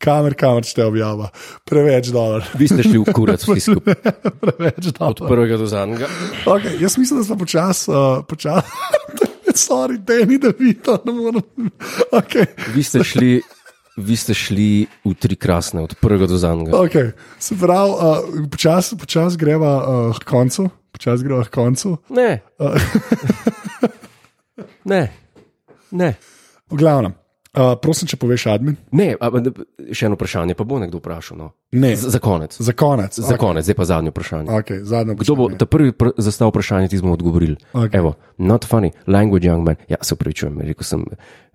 Speaker 2: Kamer, kamer čte objava. Preveč dobro.
Speaker 1: Vi ste šli v kurac vsi skupaj,
Speaker 2: Preveč dobro.
Speaker 1: od prvega do zadnjega.
Speaker 2: Okay, jaz mislim, da smo počasi, uh, počasi, sorry, Danny DeVito, ne morem. Okay.
Speaker 1: Vi ste šli, vi ste šli v tri krasne, od prvega do zadnjega.
Speaker 2: Okay. Se pravi, uh, počasi počas greva uh, k koncu. Počasi greva k koncu.
Speaker 1: Ne. Ne, ne.
Speaker 2: V glavnem, uh, prosim, če poveš admin.
Speaker 1: ne. A, še eno vprašanje, pa bo nekdo vprašal. No.
Speaker 2: Ne,
Speaker 1: Z- Za konec,
Speaker 2: za konec.
Speaker 1: za konec, zdaj pa zadnje vprašanje.
Speaker 2: Okay, zadnjo
Speaker 1: Kdo bo ta prvi pr zastavil vprašanje, ti smo odgovorili?
Speaker 2: Okej.
Speaker 1: Evo, not funny, language young man. Ja, se upravičujem, rekel sem,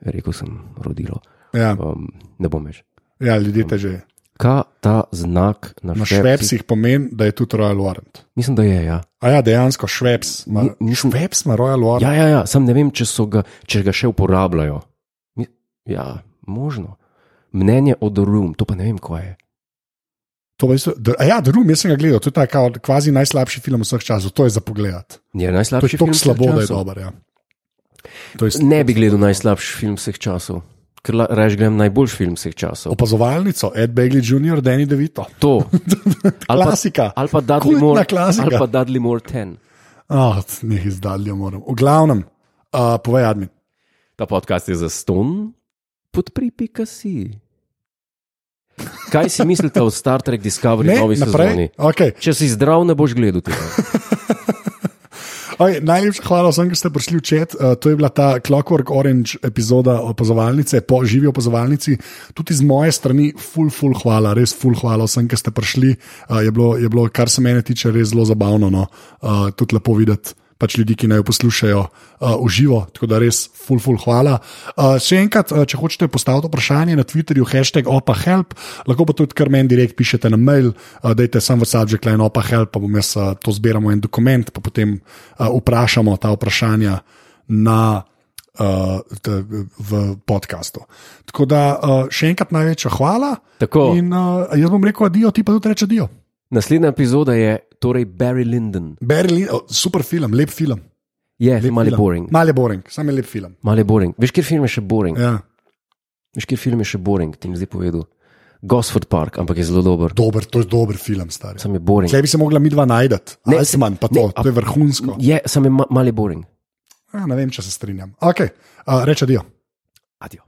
Speaker 1: rekel sem rodilo.
Speaker 2: Ja,
Speaker 1: Um, ne bom več.
Speaker 2: ja, ljudje te že.
Speaker 1: Kaj ta znak na,
Speaker 2: Na
Speaker 1: švepsi?
Speaker 2: švepsih pomeni, da je tudi Royal Warrant.
Speaker 1: Mislim, da je. Ja.
Speaker 2: A ja, dejansko šveps. Ma,
Speaker 1: Ni- ni-
Speaker 2: šveps ima Royal Warrant.
Speaker 1: Ja, ja, ja, sam ne vem, če, so ga, če ga še uporabljajo. Mi- Ja, možno. Mnenje o The Room, to pa ne vem, kaj je.
Speaker 2: To pa isto, da, a ja, The Room, jaz sem ga gledal, to je ta kao kvazi najslabši film vseh časov, to je za pogled.
Speaker 1: Je
Speaker 2: To
Speaker 1: najslabši
Speaker 2: je
Speaker 1: film.
Speaker 2: tako
Speaker 1: vseh
Speaker 2: slabo, da je
Speaker 1: časov?
Speaker 2: dober. Ja. To je
Speaker 1: Ne bi gledal najslabši film vseh časov, ker la- raje gledam najboljši film vseh časov.
Speaker 2: opazovalnico, Ed Begley Jr., Danny DeVito.
Speaker 1: To. Ali pa,
Speaker 2: Klasika.
Speaker 1: ali pa Dudley
Speaker 2: Kultna
Speaker 1: Moore,
Speaker 2: klasika.
Speaker 1: ali pa Dudley Moore 10.
Speaker 2: Ah, ne izdaljo moram. V glavnem, uh, povej, admin.
Speaker 1: Ta podcast je za ston, podpri pika si. Kaj si mislite o Star Trek Discovery
Speaker 2: Ne,
Speaker 1: novi sezoni?
Speaker 2: naprej. Okay.
Speaker 1: Če si zdrav, ne boš gledal tega.
Speaker 2: Okay, najlepša hvala vsem, ki ste prišli v čat. Uh, to je bila ta Clockwork Orange epizoda opazovalnice, po živi opazovalnici. Tudi z moje strani, full, full hvala, res full hvala vsem, ki ste prišli. Uh, je, bilo, je bilo, kar se mene tiče, res zelo zabavno. No. Uh, tudi lepo videti. Pač ljudi, ki naj jo poslušajo uh, v živo, tako da res, full, full, hvala. Uh, še enkrat, uh, če hočete postaviti vprašanje na Twitterju, hashtag opahelp, lahko pa tudi kar meni direkt pišete na mail, uh, dajte sam v subject line opahelp, pa bom jaz uh, to zbiramo en dokument, pa potem uh, vprašamo ta vprašanja na, uh, t, v podkastu. Tako da uh, še enkrat največja hvala.
Speaker 1: Tako.
Speaker 2: In uh, jaz bom rekel, adijo, ti pa tudi reče adijo.
Speaker 1: Naslednja epizoda je torej Barry Lyndon.
Speaker 2: Barry Lin- oh, Super film, lep film.
Speaker 1: Je,
Speaker 2: Lep
Speaker 1: Ja, malo je
Speaker 2: film.
Speaker 1: boring.
Speaker 2: Malo je boring, samo je lep film.
Speaker 1: Malo je boring. Veš, kjer film je še boring?
Speaker 2: Ja.
Speaker 1: Veš, kjer film je še boring, ti mi zdaj povedal. Gosford Park, ampak je zelo dober.
Speaker 2: Dober, to je dober film, star.
Speaker 1: Sam je boring.
Speaker 2: Tle bi se mogla midva najdati,
Speaker 1: Ne,
Speaker 2: ne Iceman, pa to,
Speaker 1: ne,
Speaker 2: ne, to je vrhunsko.
Speaker 1: Je, sam je ma, malo je boring.
Speaker 2: Ja, ne vem, če se strinjam. Okay. Uh, reče dio.
Speaker 1: Adijo.